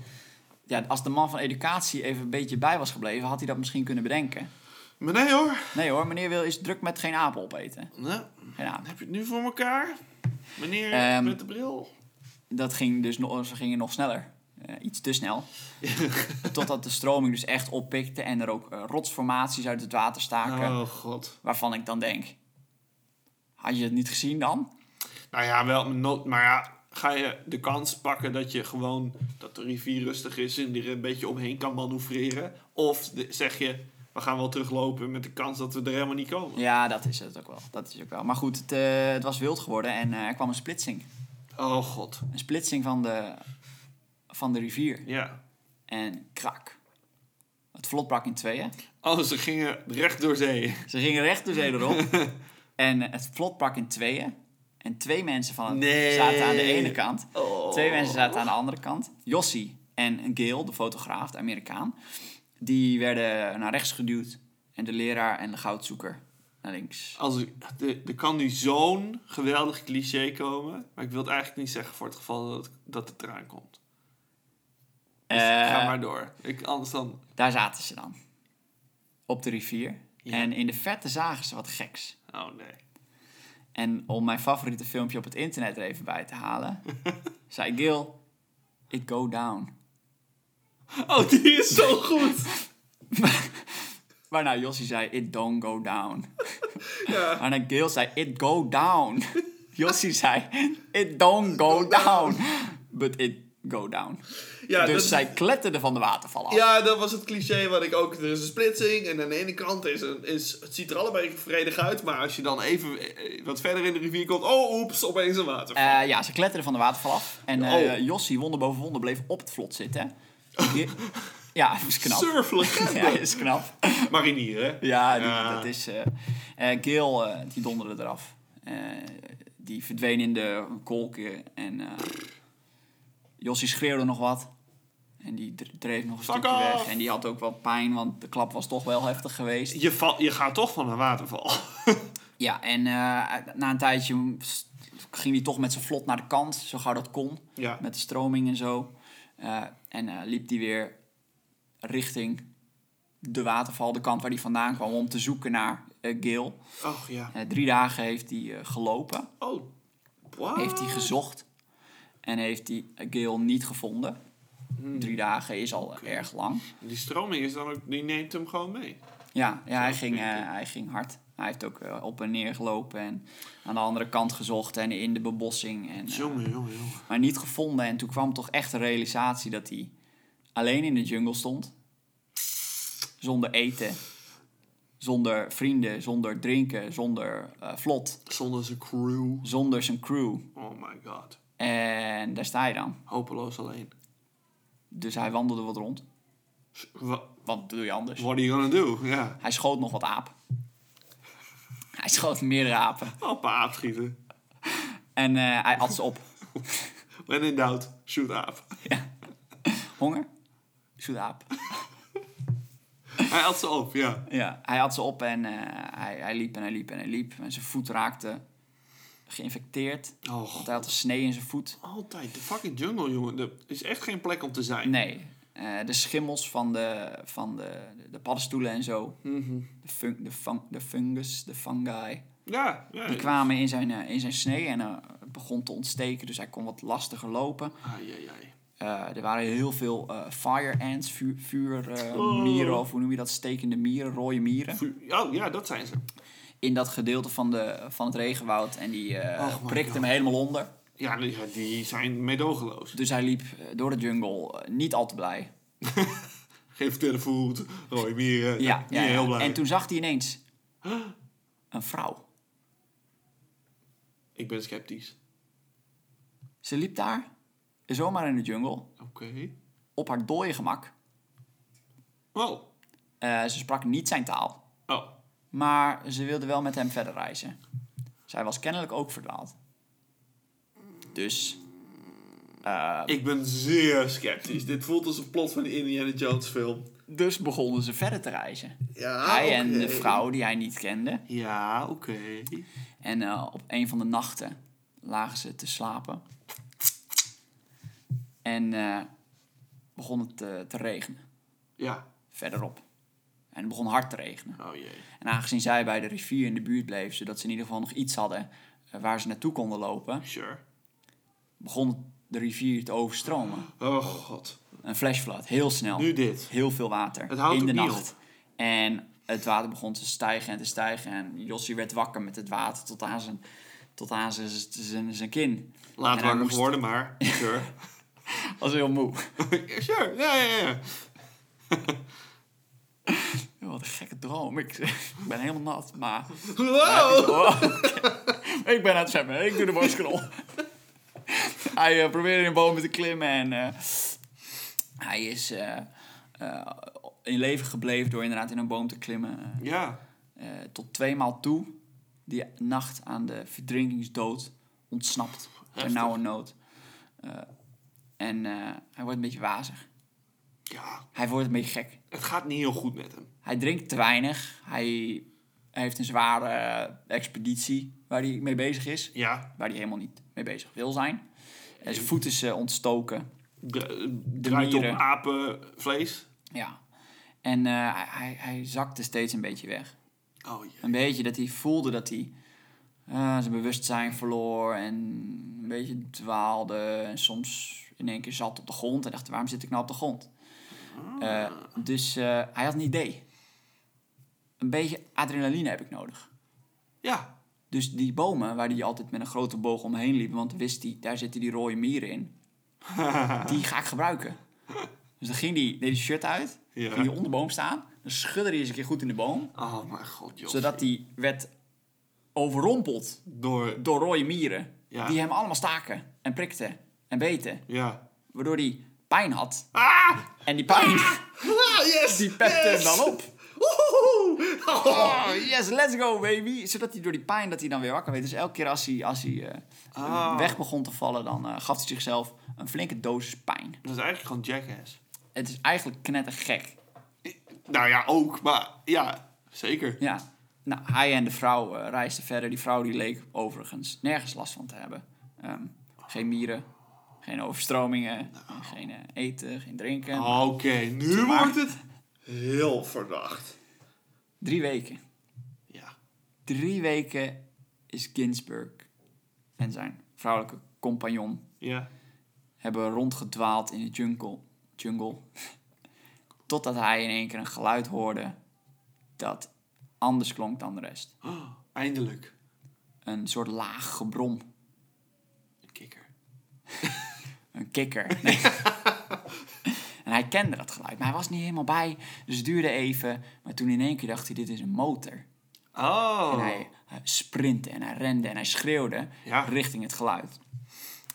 [SPEAKER 1] Ja, als de man van educatie even een beetje bij was gebleven, had hij dat misschien kunnen bedenken.
[SPEAKER 2] Maar nee hoor.
[SPEAKER 1] Nee hoor, meneer Wil is druk met geen apen opeten.
[SPEAKER 2] Nou,
[SPEAKER 1] Geen aap.
[SPEAKER 2] heb je het nu voor elkaar? Meneer
[SPEAKER 1] Ehm.
[SPEAKER 2] met de bril.
[SPEAKER 1] Dat ging dus nog, ze gingen nog sneller. Eh, iets te snel. Totdat de stroming dus echt oppikte en er ook eh, rotsformaties uit het water staken.
[SPEAKER 2] Oh god.
[SPEAKER 1] Waarvan ik dan denk: had je het niet gezien dan?
[SPEAKER 2] Nou ja, wel, maar no- maar ja, ga je de kans pakken dat je gewoon dat de rivier rustig is en die er een beetje omheen kan manoeuvreren? Of de- zeg je, we gaan wel teruglopen met de kans dat we er helemaal niet komen?
[SPEAKER 1] Ja, dat is het ook wel. Dat is ook wel. Maar goed, het, eh, het was wild geworden en eh, er kwam een splitsing.
[SPEAKER 2] Oh god.
[SPEAKER 1] Een splitsing van de, van de rivier.
[SPEAKER 2] Ja.
[SPEAKER 1] En krak. Het vlot brak in tweeën.
[SPEAKER 2] Oh, ze gingen recht door zee.
[SPEAKER 1] Ze gingen recht door zee erop. en eh, het vlot brak in tweeën. En twee mensen van het
[SPEAKER 2] Nee.
[SPEAKER 1] zaten aan de ene kant.
[SPEAKER 2] Oh.
[SPEAKER 1] Twee mensen zaten aan de andere kant. Jossie en Gail, de fotograaf, de Amerikaan. Die werden naar rechts geduwd. En de leraar en de goudzoeker naar links.
[SPEAKER 2] Als ik, er, er kan nu zo'n geweldig cliché komen. Maar ik wil het eigenlijk niet zeggen voor het geval dat, dat het eraan komt. Dus
[SPEAKER 1] Eh,
[SPEAKER 2] ga maar door. Ik, anders dan...
[SPEAKER 1] Daar zaten ze dan. Op de rivier.
[SPEAKER 2] Ja.
[SPEAKER 1] En in de verte zagen ze wat geks.
[SPEAKER 2] Oh nee.
[SPEAKER 1] En om mijn favoriete filmpje op het internet er even bij te halen, zei Gil, it go down.
[SPEAKER 2] Oh, die is zo goed.
[SPEAKER 1] Waarna Jossie zei, it don't go down.
[SPEAKER 2] Ja.
[SPEAKER 1] Waarna Gil zei, it go down. Jossie zei, it don't go down. But it go down.
[SPEAKER 2] Ja,
[SPEAKER 1] dus
[SPEAKER 2] dat-
[SPEAKER 1] zij kletterden van de waterval af.
[SPEAKER 2] Ja, dat was het cliché wat ik ook. Er is een splitsing en aan de ene kant is, een, is het ziet er allebei vredig uit, maar als je dan even eh, wat verder in de rivier komt, oh oeps, opeens een water.
[SPEAKER 1] Eh, ja, ze kletterden van de waterval af. En eh
[SPEAKER 2] Oh.
[SPEAKER 1] Jossie, wonder boven wonder, bleef op het vlot zitten. Ge- ja, dat is knap.
[SPEAKER 2] Surflegende.
[SPEAKER 1] Ja, dat is knap.
[SPEAKER 2] Marinier, hè?
[SPEAKER 1] Ja, die-
[SPEAKER 2] Ja.
[SPEAKER 1] dat is... eh eh, Gil, eh, die donderde eraf. Eh, die verdween in de kolken en... eh Jossie schreeuwde nog wat. En die dr- dreef nog een
[SPEAKER 2] Fuck
[SPEAKER 1] stukje
[SPEAKER 2] off.
[SPEAKER 1] weg. En die had ook wel pijn, want de klap was toch wel heftig geweest.
[SPEAKER 2] Je, val, je gaat toch van een waterval.
[SPEAKER 1] Ja, en eh, na een tijdje s- ging hij toch met zijn vlot naar de kant, zo gauw dat kon.
[SPEAKER 2] Ja.
[SPEAKER 1] Met de stroming en zo. Eh, en eh, liep hij weer richting de waterval, de kant waar hij vandaan kwam, om te zoeken naar eh Gil.
[SPEAKER 2] Oh ja.
[SPEAKER 1] Eh, drie dagen heeft hij eh, gelopen,
[SPEAKER 2] Oh. Wow.
[SPEAKER 1] heeft hij gezocht en heeft hij eh, Gil niet gevonden. Drie dagen is al eh, erg lang.
[SPEAKER 2] Die stroming is dan ook, die neemt hem gewoon mee.
[SPEAKER 1] Ja, ja hij,
[SPEAKER 2] Zo
[SPEAKER 1] ging,
[SPEAKER 2] vind ik
[SPEAKER 1] eh, hij ging hard. Hij heeft ook eh, op en neer gelopen en aan de andere kant gezocht en in de bebossing. En, eh,
[SPEAKER 2] Jongen, jongen, jongen.
[SPEAKER 1] maar niet gevonden. En toen kwam toch echt de realisatie dat hij alleen in de jungle stond. Zonder eten, zonder vrienden, zonder drinken, zonder eh, vlot,
[SPEAKER 2] Zonder zijn crew.
[SPEAKER 1] zonder zijn crew.
[SPEAKER 2] Oh my god.
[SPEAKER 1] En daar sta je dan.
[SPEAKER 2] Hopeloos alleen.
[SPEAKER 1] Dus hij wandelde wat rond.
[SPEAKER 2] Wha-
[SPEAKER 1] Wat doe je anders?
[SPEAKER 2] What are you gonna do? Ja.
[SPEAKER 1] Hij schoot nog wat aap. Hij schoot meerdere apen.
[SPEAKER 2] Op aap schieten.
[SPEAKER 1] En eh, hij at ze op.
[SPEAKER 2] When in doubt, shoot aap.
[SPEAKER 1] Honger? Zoet aap.
[SPEAKER 2] Hij had ze op, ja.
[SPEAKER 1] Ja, hij had ze op en eh, hij, hij liep en hij liep en hij liep. En zijn voet raakte geïnfecteerd.
[SPEAKER 2] Oh,
[SPEAKER 1] Want hij had een snee in zijn voet.
[SPEAKER 2] Altijd. De fucking jungle, jongen. Er is echt geen plek om te zijn.
[SPEAKER 1] Nee, eh, de schimmels van de, van de, de paddenstoelen en zo. De, fun- de, fun- de fungus, de fungi.
[SPEAKER 2] Ja, ja.
[SPEAKER 1] Die kwamen in zijn, eh, in zijn snee en eh, het begon te ontsteken. Dus hij kon wat lastiger lopen.
[SPEAKER 2] Ai, ai, ai.
[SPEAKER 1] Eh, er waren heel veel eh, fire ants, vuur, vuur, eh,
[SPEAKER 2] Oh.
[SPEAKER 1] mieren of hoe noem je dat? Stekende mieren, rode mieren.
[SPEAKER 2] Vu- Oh, ja, dat zijn ze.
[SPEAKER 1] in dat gedeelte van, de, van het regenwoud. En die eh,
[SPEAKER 2] Och, Oh my
[SPEAKER 1] prikte hem
[SPEAKER 2] God.
[SPEAKER 1] helemaal onder.
[SPEAKER 2] Ja, die, ja, die zijn meedogenloos.
[SPEAKER 1] Dus hij liep eh, door de jungle eh, niet al te blij.
[SPEAKER 2] Geef telefoon, rode mieren.
[SPEAKER 1] Ja,
[SPEAKER 2] niet
[SPEAKER 1] ja, ja.
[SPEAKER 2] eh, heel blij.
[SPEAKER 1] En toen zag hij ineens een vrouw.
[SPEAKER 2] Ik ben sceptisch.
[SPEAKER 1] Ze liep daar, zomaar in de jungle,
[SPEAKER 2] Oké.
[SPEAKER 1] op haar dode gemak.
[SPEAKER 2] Oh.
[SPEAKER 1] Eh, ze sprak niet zijn taal,
[SPEAKER 2] Oh.
[SPEAKER 1] maar ze wilde wel met hem verder reizen. Zij was kennelijk ook verdwaald. Dus Ehm.
[SPEAKER 2] Ik ben zeer sceptisch. Dit voelt als een plot van de Indiana Jones film.
[SPEAKER 1] Dus begonnen ze verder te reizen.
[SPEAKER 2] Ja,
[SPEAKER 1] hij en
[SPEAKER 2] oké.
[SPEAKER 1] de vrouw die hij niet kende.
[SPEAKER 2] Ja, oké.
[SPEAKER 1] En eh, op een van de nachten lagen ze te slapen. En eh, begon het eh, te regenen,
[SPEAKER 2] Ja.
[SPEAKER 1] verderop. En het begon hard te regenen.
[SPEAKER 2] Oh jee.
[SPEAKER 1] En aangezien zij bij de rivier in de buurt bleef, zodat ze in ieder geval nog iets hadden eh, waar ze naartoe konden lopen,
[SPEAKER 2] Sure.
[SPEAKER 1] begon de rivier te overstromen.
[SPEAKER 2] Oh god.
[SPEAKER 1] Een flashflood, heel snel.
[SPEAKER 2] Nu dit.
[SPEAKER 1] Heel veel water
[SPEAKER 2] Het houdt
[SPEAKER 1] in de
[SPEAKER 2] ook niet
[SPEAKER 1] nacht. En het water begon te stijgen en te stijgen. En Jossie werd wakker met het water tot aan zijn, tot aan zijn, zijn, zijn kin. En
[SPEAKER 2] Laat
[SPEAKER 1] hij
[SPEAKER 2] wakker
[SPEAKER 1] moest-
[SPEAKER 2] geworden, maar. Sure.
[SPEAKER 1] was heel moe.
[SPEAKER 2] sure. Ja, ja, ja.
[SPEAKER 1] Wat een gekke droom. Ik, ik ben helemaal nat, maar...
[SPEAKER 2] Wow.
[SPEAKER 1] Oh, ik ben aan het zwemmen. Ik doe de booskrol. hij eh, probeerde in bomen te klimmen en... eh, hij is eh, eh, in leven gebleven door inderdaad in een boom te klimmen.
[SPEAKER 2] Ja,
[SPEAKER 1] eh, tot twee maal toe die nacht aan de verdrinkingsdood ontsnapt. Per
[SPEAKER 2] Heftig.
[SPEAKER 1] nauwe nood. Eh, en eh, hij wordt een beetje wazig.
[SPEAKER 2] ja,
[SPEAKER 1] Hij wordt een beetje gek.
[SPEAKER 2] het gaat niet heel goed met hem.
[SPEAKER 1] Hij drinkt te weinig. Hij heeft een zware eh, expeditie waar hij mee bezig is.
[SPEAKER 2] Ja,
[SPEAKER 1] Waar hij helemaal niet mee bezig wil zijn. En zijn voet is eh, ontstoken.
[SPEAKER 2] de, eh, draait op
[SPEAKER 1] nieren.
[SPEAKER 2] apenvlees.
[SPEAKER 1] Ja. En eh, hij- hij, hij zakte steeds een beetje weg.
[SPEAKER 2] Oh ja.
[SPEAKER 1] Een beetje dat hij voelde dat hij eh, zijn bewustzijn verloor en een beetje dwaalde. En soms in één keer zat op de grond en dacht, waarom zit ik nou op de grond? Eh, dus eh, hij had een idee. Een beetje adrenaline heb ik nodig.
[SPEAKER 2] Ja,
[SPEAKER 1] Dus die bomen, waar hij altijd met een grote boog omheen liep, want wist hij, daar zitten die rode mieren in. die ga ik gebruiken. Dus dan ging hij, deed hij shirt uit,
[SPEAKER 2] Ja.
[SPEAKER 1] ging hij onder de boom staan. Dan schudde hij eens een keer goed in de boom.
[SPEAKER 2] oh mijn god, joh.
[SPEAKER 1] Zodat hij werd overrompeld
[SPEAKER 2] Door,
[SPEAKER 1] door rode mieren.
[SPEAKER 2] Ja.
[SPEAKER 1] Die hem allemaal staken en prikten en beten.
[SPEAKER 2] ja.
[SPEAKER 1] Waardoor hij pijn had.
[SPEAKER 2] Ah!
[SPEAKER 1] En die pijn,
[SPEAKER 2] Ah, yes!
[SPEAKER 1] die pepte
[SPEAKER 2] yes!
[SPEAKER 1] hem dan op.
[SPEAKER 2] Woehoe! Oh.
[SPEAKER 1] Oh, yes, let's go baby. Zodat hij door die pijn dat hij dan weer wakker werd. Dus elke keer als hij, als hij eh,
[SPEAKER 2] Ah.
[SPEAKER 1] weg begon te vallen, dan eh, gaf hij zichzelf een flinke dosis pijn.
[SPEAKER 2] Dat is eigenlijk gewoon jackass.
[SPEAKER 1] Het is eigenlijk knettergek.
[SPEAKER 2] Nou ja, ook, maar ja, zeker.
[SPEAKER 1] Ja. Nou, hij en de vrouw eh, reisden verder. Die vrouw die leek overigens nergens last van te hebben. Ehm, geen mieren, geen overstromingen, geen eh, eten, geen drinken.
[SPEAKER 2] Oké, nu
[SPEAKER 1] maar.
[SPEAKER 2] wordt het heel verdacht.
[SPEAKER 1] Drie weken.
[SPEAKER 2] Ja.
[SPEAKER 1] Drie weken is Ginsburg en zijn vrouwelijke compagnon
[SPEAKER 2] Ja.
[SPEAKER 1] hebben rondgedwaald in de jungle. jungle totdat hij in één keer een geluid hoorde dat anders klonk dan de rest.
[SPEAKER 2] Oh, eindelijk.
[SPEAKER 1] Een soort laag gebrom.
[SPEAKER 2] Een kikker.
[SPEAKER 1] Een kikker. Nee. en hij kende dat geluid, maar hij was niet helemaal bij. Dus het duurde even. Maar toen in één keer dacht hij, dit is een motor.
[SPEAKER 2] Oh.
[SPEAKER 1] En hij, hij sprintte en hij rende en hij schreeuwde
[SPEAKER 2] Ja.
[SPEAKER 1] richting het geluid.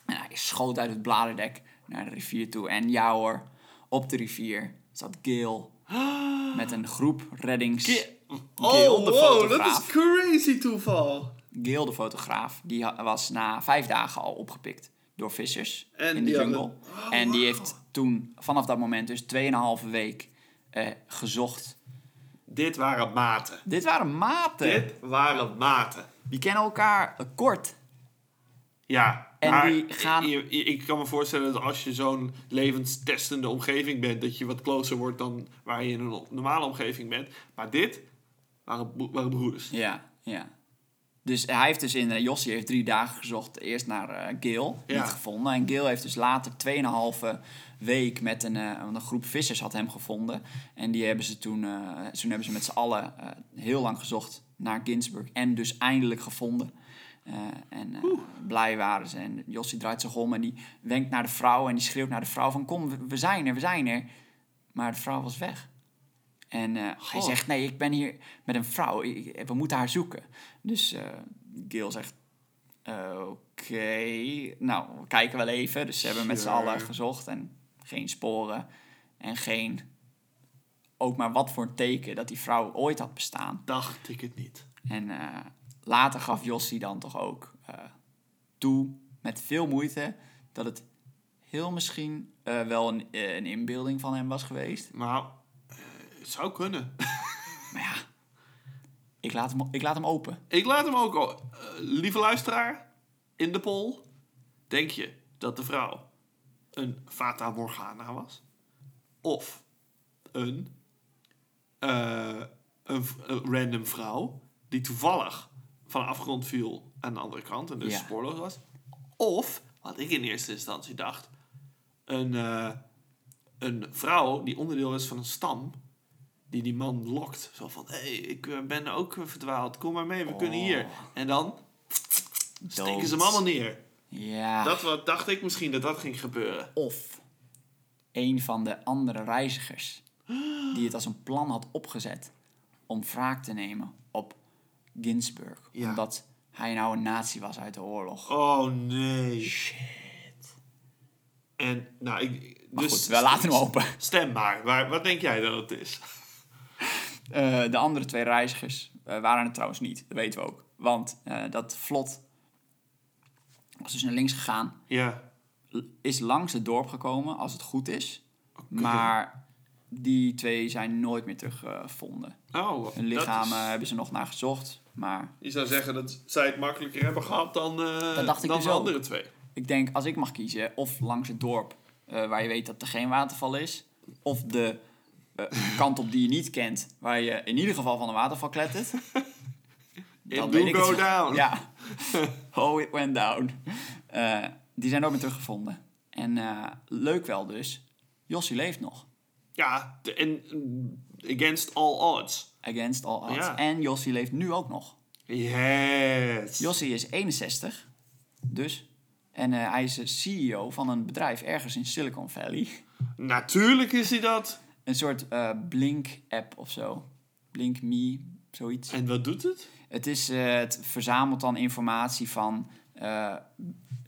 [SPEAKER 1] En hij schoot uit het bladerdek naar de rivier toe. En ja hoor, op de rivier zat Gail met een groep reddings...
[SPEAKER 2] Ki-
[SPEAKER 1] Gail,
[SPEAKER 2] Oh,
[SPEAKER 1] de
[SPEAKER 2] wow, dat
[SPEAKER 1] fotograaf.
[SPEAKER 2] is crazy toeval.
[SPEAKER 1] Gail, de fotograaf, die ha- was na vijf dagen al opgepikt door vissers
[SPEAKER 2] En
[SPEAKER 1] in de
[SPEAKER 2] die
[SPEAKER 1] jungle.
[SPEAKER 2] hadden- Oh,
[SPEAKER 1] en die
[SPEAKER 2] wauw.
[SPEAKER 1] heeft toen, vanaf dat moment, dus 2,5 week eh, gezocht.
[SPEAKER 2] Dit waren maten.
[SPEAKER 1] Dit waren maten.
[SPEAKER 2] Dit waren maten.
[SPEAKER 1] Die kennen elkaar eh, kort.
[SPEAKER 2] Ja.
[SPEAKER 1] En
[SPEAKER 2] maar
[SPEAKER 1] die gaan-
[SPEAKER 2] je- je- ik kan me voorstellen dat als je zo'n levenstestende omgeving bent, dat je wat closer wordt dan waar je in een o- normale omgeving bent. Maar dit waren, bro- waren broeders.
[SPEAKER 1] Ja, ja. Dus hij heeft dus in eh, Jossie heeft drie dagen gezocht. Eerst naar eh, Gail,
[SPEAKER 2] Ja.
[SPEAKER 1] niet gevonden. En Gail heeft dus later 2,5 week met een, eh, want een groep vissers had hem gevonden. En die hebben ze toen, eh, toen hebben ze met z'n allen eh, heel lang gezocht naar Ginsburg. En dus eindelijk gevonden. Eh, en eh, blij waren ze. En Jossie draait zich om en die wenkt naar de vrouw. En die schreeuwt naar de vrouw van kom, we- we zijn er, we zijn er. Maar de vrouw was weg. En eh, hij
[SPEAKER 2] Goh.
[SPEAKER 1] zegt, nee, ik ben hier met een vrouw. Ik- ik- we moeten haar zoeken. Dus eh Gil zegt, eh, oké, nou, we kijken wel even. Dus ze hebben met z'n
[SPEAKER 2] Sure.
[SPEAKER 1] allen gezocht en geen sporen. En geen, ook maar wat voor een teken dat die vrouw ooit had bestaan.
[SPEAKER 2] Dacht ik het niet.
[SPEAKER 1] En eh, later gaf Jossie dan toch ook eh, toe, met veel moeite, dat het heel misschien eh, wel een, eh, een inbeelding van hem was geweest.
[SPEAKER 2] Nou, eh, het zou kunnen.
[SPEAKER 1] Maar ja, ik laat hem, ik laat hem open.
[SPEAKER 2] ik laat hem ook al. eh, lieve luisteraar, in de poll. Denk je dat de vrouw een Fata Morgana was? Of een, eh, een, v- een random vrouw die toevallig van de afgrond viel aan de andere kant en dus
[SPEAKER 1] Ja.
[SPEAKER 2] spoorloos was? Of, wat ik in eerste instantie dacht, een, eh, een vrouw die onderdeel is van een stam. Die die man lokt. Zo van, hé, hey, ik eh, ben ook verdwaald. Kom maar mee, we kunnen
[SPEAKER 1] Oh.
[SPEAKER 2] hier. En dan steken ze hem allemaal neer.
[SPEAKER 1] Ja,
[SPEAKER 2] Dat wat, dacht ik misschien dat dat ging gebeuren.
[SPEAKER 1] of een van de andere reizigers die het als een plan had opgezet om wraak te nemen op Ginsburg.
[SPEAKER 2] Ja.
[SPEAKER 1] Omdat hij nou een nazi was uit de oorlog.
[SPEAKER 2] Oh nee. Shit. En nou, ik,
[SPEAKER 1] Maar
[SPEAKER 2] dus
[SPEAKER 1] goed, we laten hem open.
[SPEAKER 2] Stem maar. Waar, wat denk jij dat het is?
[SPEAKER 1] Eh, de andere twee reizigers eh, waren het trouwens niet. Dat weten we ook. Want eh, dat vlot was dus naar links gegaan.
[SPEAKER 2] Ja.
[SPEAKER 1] l- Is langs het dorp gekomen, als het goed is.
[SPEAKER 2] Oké.
[SPEAKER 1] Maar die twee zijn nooit meer teruggevonden.
[SPEAKER 2] oh,
[SPEAKER 1] Hun eh,
[SPEAKER 2] dat
[SPEAKER 1] lichamen
[SPEAKER 2] is-
[SPEAKER 1] hebben ze nog naar gezocht. Maar
[SPEAKER 2] Je zou zeggen dat zij het makkelijker hebben gehad dan, eh,
[SPEAKER 1] Dat dacht ik
[SPEAKER 2] dan
[SPEAKER 1] dus
[SPEAKER 2] de
[SPEAKER 1] ook.
[SPEAKER 2] andere twee.
[SPEAKER 1] ik denk, als ik mag kiezen, of langs het dorp eh, waar je weet dat er geen waterval is. Of de eh, kant op die je niet kent, waar je in ieder geval van een waterval klettert.
[SPEAKER 2] It
[SPEAKER 1] Dan
[SPEAKER 2] do
[SPEAKER 1] weet ik
[SPEAKER 2] go
[SPEAKER 1] het.
[SPEAKER 2] down.
[SPEAKER 1] Ja. oh, it went down. Eh, die zijn ook weer teruggevonden. En eh, leuk wel dus. Jossie leeft nog.
[SPEAKER 2] Ja, de- en mm, against all odds.
[SPEAKER 1] Against all odds.
[SPEAKER 2] Ja.
[SPEAKER 1] En Jossie leeft nu ook nog.
[SPEAKER 2] Yes.
[SPEAKER 1] Jossie is 61. Dus. En eh, hij is eh, CEO van een bedrijf ergens in Silicon Valley.
[SPEAKER 2] Natuurlijk is hij dat.
[SPEAKER 1] Een soort eh, Blink-app of zo. Blink Me, zoiets.
[SPEAKER 2] En wat doet het?
[SPEAKER 1] Het, is, eh, het verzamelt dan informatie van eh,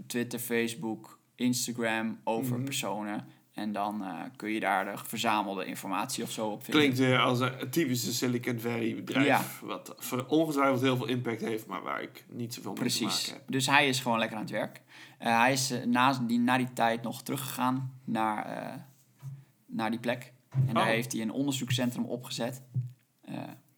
[SPEAKER 1] Twitter, Facebook, Instagram over personen. En dan eh, kun je daar de verzamelde informatie of zo op vinden.
[SPEAKER 2] Klinkt weer als een typische Silicon Valley bedrijf.
[SPEAKER 1] Ja.
[SPEAKER 2] Wat ver- ongetwijfeld heel veel impact heeft, maar waar ik niet zoveel mee te maken
[SPEAKER 1] Precies.
[SPEAKER 2] heb.
[SPEAKER 1] Dus hij is gewoon lekker aan het werk. Eh, hij is eh, na, die, na die tijd nog teruggegaan naar, eh, naar die plek. En daar
[SPEAKER 2] Oh.
[SPEAKER 1] heeft hij een onderzoekscentrum opgezet. Eh,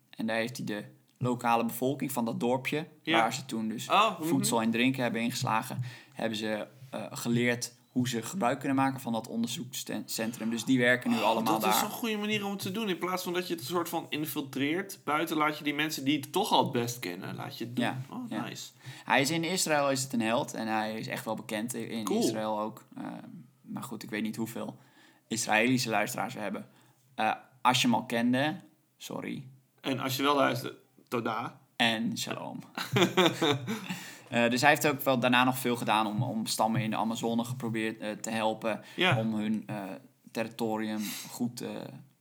[SPEAKER 1] en daar heeft hij de lokale bevolking van dat dorpje,
[SPEAKER 2] Ja.
[SPEAKER 1] waar ze toen dus
[SPEAKER 2] Oh, mhm.
[SPEAKER 1] voedsel en drinken hebben ingeslagen, hebben ze eh, geleerd hoe ze gebruik kunnen maken van dat onderzoekscentrum. Dus die werken nu allemaal
[SPEAKER 2] Oh, Ah, dat is
[SPEAKER 1] daar.
[SPEAKER 2] een goede manier om het te doen. In plaats van dat je het een soort van infiltreert. Buiten laat je die mensen die het toch al het best kennen, laat je het doen.
[SPEAKER 1] Ja,
[SPEAKER 2] Oh,
[SPEAKER 1] ja.
[SPEAKER 2] nice.
[SPEAKER 1] Hij is in Israël is het een held en hij is echt wel bekend in- in
[SPEAKER 2] Cool.
[SPEAKER 1] Israël ook. Eh, maar goed, ik weet niet hoeveel Israëlische luisteraars we hebben. Eh, als je hem al kende, sorry.
[SPEAKER 2] En als je wel luistert, toda.
[SPEAKER 1] En shalom. Eh, dus hij heeft ook wel daarna nog veel gedaan om, om stammen in de Amazone geprobeerd eh, te helpen.
[SPEAKER 2] Ja.
[SPEAKER 1] Om hun eh, territorium goed eh,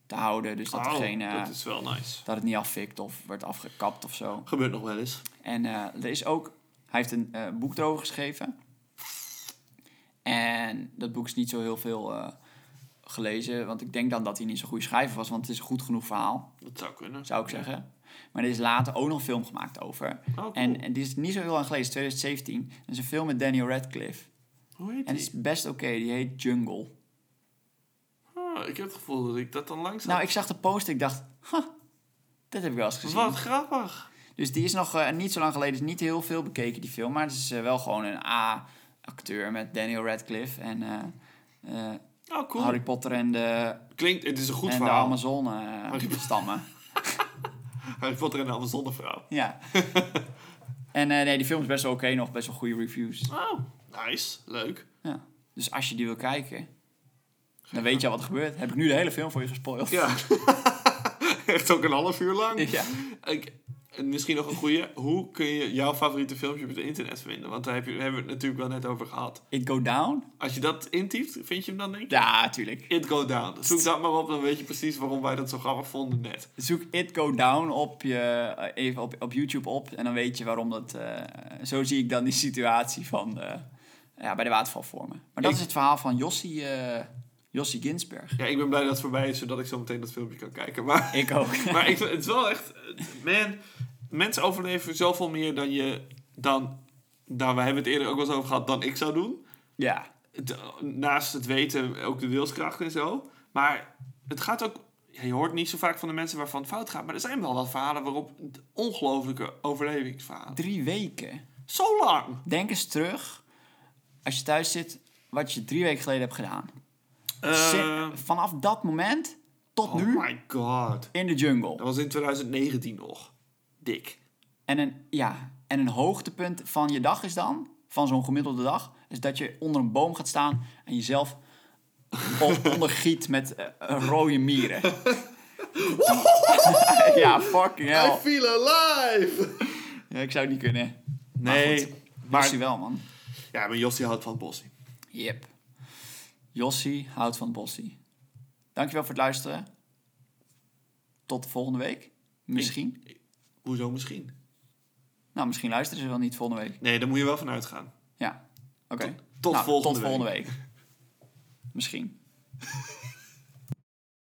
[SPEAKER 1] te houden. Dus dat, er
[SPEAKER 2] Oh,
[SPEAKER 1] geen, eh,
[SPEAKER 2] dat is wel nice.
[SPEAKER 1] dat het niet afvikt of werd afgekapt of zo.
[SPEAKER 2] Gebeurt nog wel eens.
[SPEAKER 1] En eh, er is ook, hij heeft een eh, boek erover geschreven. En dat boek is niet zo heel veel eh, gelezen, want ik denk dan dat hij niet zo'n goede schrijver was, want het is een goed genoeg verhaal,
[SPEAKER 2] Dat zou kunnen.
[SPEAKER 1] zou ik zeggen. Maar er is later ook nog een film gemaakt over.
[SPEAKER 2] Oh, cool.
[SPEAKER 1] En, en die is niet zo heel lang geleden, 2017. Dat is een film met Daniel Radcliffe.
[SPEAKER 2] Hoe heet
[SPEAKER 1] En het
[SPEAKER 2] die?
[SPEAKER 1] is best oké, die heet Jungle.
[SPEAKER 2] Ah, ik heb het gevoel dat ik dat dan langs
[SPEAKER 1] Nou,
[SPEAKER 2] had.
[SPEAKER 1] ik zag de poster, ik dacht, huh, dat heb ik wel eens gezien.
[SPEAKER 2] Wat grappig.
[SPEAKER 1] Dus die is nog eh, niet zo lang geleden, is niet heel veel bekeken, die film. Maar het is eh, wel gewoon een A-acteur met Daniel Radcliffe en eh, eh,
[SPEAKER 2] Oh, cool.
[SPEAKER 1] Harry Potter en de,
[SPEAKER 2] Klinkt, het is een
[SPEAKER 1] en
[SPEAKER 2] goed
[SPEAKER 1] de eh,
[SPEAKER 2] verhaal. Harry
[SPEAKER 1] Amazone-stammen.
[SPEAKER 2] Harry Potter en de Amazonevrouw.
[SPEAKER 1] ja. en eh, nee, die film is best wel oké nog, best wel goede reviews.
[SPEAKER 2] Oh, nice. Leuk.
[SPEAKER 1] Ja. Dus als je die wil kijken, dan weet je al wat er gebeurt. Heb ik nu de hele film voor je gespoild?
[SPEAKER 2] Ja. Echt ook een half uur lang.
[SPEAKER 1] Ja.
[SPEAKER 2] Ik, en misschien nog een goede. Hoe kun je jouw favoriete filmpje op het internet vinden? Want daar heb je, hebben we het natuurlijk wel net over gehad.
[SPEAKER 1] It Go Down?
[SPEAKER 2] Als je dat intypt, vind je hem dan denk ik?
[SPEAKER 1] Ja, tuurlijk.
[SPEAKER 2] It Go Down. Zoek dat maar op, dan weet je precies waarom wij dat zo grappig vonden net.
[SPEAKER 1] Zoek It Go Down op, je, eh, even op, op YouTube op en dan weet je waarom dat... eh, zo zie ik dan die situatie van, eh, ja, bij de waterval vormen. Maar dat
[SPEAKER 2] Ik-
[SPEAKER 1] is het verhaal van Jossie, eh, Jossie Ginsberg.
[SPEAKER 2] Ja, ik ben blij dat het voorbij is, zodat ik zo meteen dat filmpje kan kijken. Maar,
[SPEAKER 1] Ik ook.
[SPEAKER 2] maar ik, het is wel echt... Man, mensen overleven zoveel meer dan je... Dan, nou, we hebben het eerder ook wel eens over gehad, dan ik zou doen.
[SPEAKER 1] ja,
[SPEAKER 2] het- naast het weten ook de wilskracht en zo. Maar het gaat ook. ja, je hoort niet zo vaak van de mensen waarvan het fout gaat. Maar er zijn wel wat verhalen waarop. ongelooflijke overlevingsverhalen.
[SPEAKER 1] drie weken.
[SPEAKER 2] Zo lang!
[SPEAKER 1] Denk eens terug, als je thuis zit, wat je drie weken geleden hebt gedaan.
[SPEAKER 2] Eh,
[SPEAKER 1] Zit- vanaf dat moment tot
[SPEAKER 2] oh
[SPEAKER 1] nu
[SPEAKER 2] my god.
[SPEAKER 1] in de jungle.
[SPEAKER 2] Dat was in 2019 nog. Dik.
[SPEAKER 1] En een, ja, en een hoogtepunt van je dag is dan, van zo'n gemiddelde dag, is dat je onder een boom gaat staan en jezelf on- ondergiet met eh, eh, rode mieren. ja, fucking hell.
[SPEAKER 2] feel alive!
[SPEAKER 1] Ja, ik zou het niet kunnen.
[SPEAKER 2] Nee.
[SPEAKER 1] Maar
[SPEAKER 2] Maar,
[SPEAKER 1] Jossie wel, man.
[SPEAKER 2] ja, maar Jossie houdt van Bossie.
[SPEAKER 1] Yep. Jossie houdt van Bossie. Dankjewel voor het luisteren. Tot de volgende week. Misschien.
[SPEAKER 2] Hoezo misschien?
[SPEAKER 1] Nou, misschien luisteren ze wel niet volgende week.
[SPEAKER 2] Nee, daar moet je wel van uitgaan.
[SPEAKER 1] Ja. Oké.
[SPEAKER 2] tot
[SPEAKER 1] Nou,
[SPEAKER 2] volgende
[SPEAKER 1] Tot volgende week. Misschien.